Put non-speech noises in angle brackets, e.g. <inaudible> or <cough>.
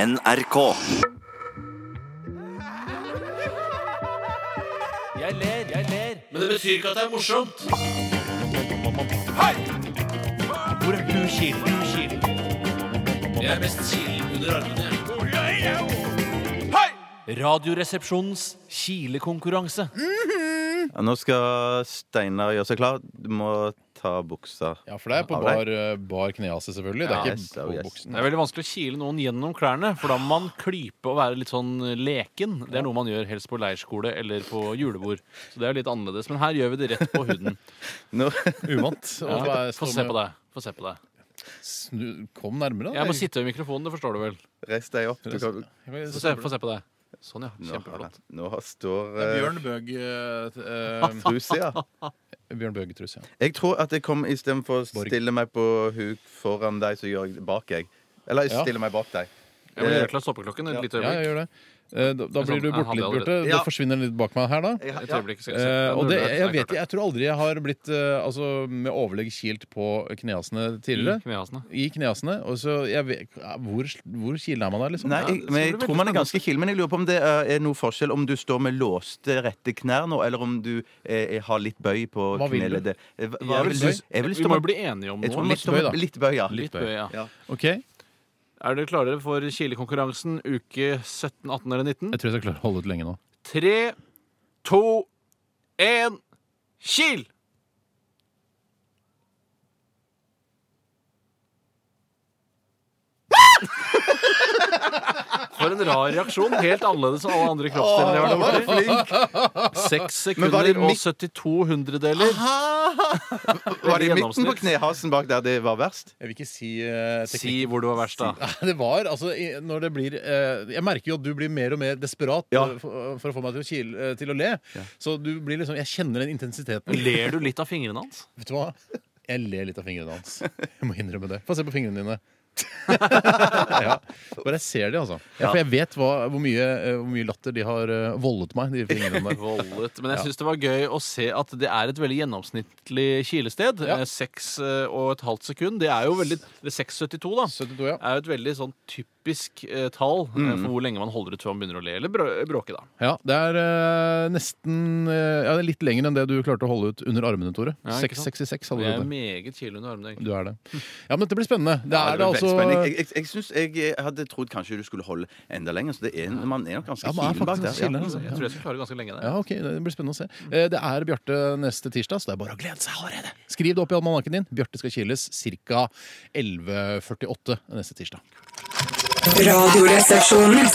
NRK. Jeg ler, jeg ler. Men det betyr ikke at det er morsomt. Hei! Hvor er du, Kilen? Du, Kilen? Jeg er mest kilen under armene. Hei! Radioresepsjonens kilekonkurranse. Ja, nå skal Steinar gjøre seg klar. Du må ta buksa. Ja, for det er på Av deg. bar, eh, bar knehase, selvfølgelig. Det Ja, er yes, ikke oh, yes. på buksen. Det er veldig vanskelig å kile noen gjennom klærne, for da må man klype og være litt sånn leken. Det er noe man gjør helst på leirskole eller på julebord. Så det er jo litt annerledes. Men her gjør vi det rett på huden. Nå, Uvant. Ja. Få se på deg. Få se på deg. Snu, kom nærmere, da. Jeg må sitte ved mikrofonen, det forstår du vel. Reis deg opp. Du kan... Få se, få se på deg. Sånn, ja. nå, har Kjempeflott. jeg- nå har- står Det er eh, Bjørn Bøg eh, truse, ja. eh, Bjørn Bøge-truse. Ja. Jeg tror at jeg kom istedenfor å Borg. stille meg på huk foran deg, så gjør jeg det bak jeg. Eller jeg Ja. stiller meg bak deg. Jeg må gjøre klar stoppeklokken et lite <laughs> ja, jeg øyeblikk. gjør det. Eh, Da, da Sånn, blir du jeg borte hadde litt, allerede- Bjørte. Ja. Da forsvinner den litt bak meg her, da. Jeg, Et ja. øyeblikk skal jeg se. Eh, Jeg og burde det, vært jeg, vet, snakket. jeg tror aldri jeg har blitt eh, altså, med overlegg kilt på knehasene tidligere. I knehasene. I knehasene. Og så jeg vet, ja, hvor, hvor kilen er man der, liksom? Nei, jeg, men jeg det blir tror man er ganske kild, men jeg lurer på om det eh, er noe forskjell om du står med låste rette knær nå, eller om du eh, har litt bøy på Hva vil du? kneleddet. Eh, hva- Jeg Hva vil vil bøy. du? Jeg vil Vi må stå jo med bli enige om jeg tror noe. litt Litt bøy, bøy, da. Litt bøy, ja. Litt bøy, ja. Ja. OK? Jeg Er dere klare for kilekonkurransen uke 17, 18 eller 19? tror jeg skal klare å holde ut lenge nå. Tre, to, én, kil! For en rar reaksjon. Helt annerledes enn alle andre kroppsdeler. jeg har vært borti. Flink. Seks <laughs> Men var det sekunder og midt- 72 hundredeler. Var det i midten på Gjennomsnitt. knehasen bak der det var verst? Jeg vil ikke si eh, teknikk. <laughs> Si hvor du var verst, da. Det var altså i- Når det blir eh, Jeg merker jo at du blir mer og mer desperat Ja. eh, for, for å få meg til å, kile, eh, til å le. Så du blir liksom Jeg kjenner den intensiteten. Ler du litt av fingrene hans? Vet du hva? Jeg ler litt av fingrene hans. Jeg må innrømme det. Få se på fingrene dine. ja. Bare jeg ser de, altså. Ja, for jeg vet hva, hvor, mye, eh, hvor mye latter de har eh, voldet meg. De fingrene <laughs> der. Voldet. Men jeg syns det var gøy å se at det er et veldig gjennomsnittlig kilested. Ja. Eh, Seks eh, og et halvt sekund. Det er jo veldig eller 6,72, da. 72, ja. Er jo et veldig sånn typisk eh, tall eh, for hvor lenge man holder ut før man begynner å le eller brå- bråke, da. ja, det er eh, nesten eh, ja, det er litt lenger enn det du klarte å holde ut under armene, Tore. Ja, ikke sant? Jeg 666 hadde er du det. meget kile under armene, egentlig. Du er det. Ja, men dette blir spennende. Det Ja, det er det var veldig spennende. altså Jeg, jeg, jeg synes jeg hadde trodd kanskje du skulle holde enda lenger, så det er, man er nok ganske Ja, man er kilen bak der. faktisk Ja. kilen, Så altså. Jeg tror jeg skal klare ganske lenge der. Ja, ok, Det blir spennende å se. Eh, Det er Bjarte neste tirsdag, så det er bare å glede seg allerede. Skriv det opp i almanakken din. Bjarte skal kiles ca. 11.48 neste tirsdag. Radioresepsjonen.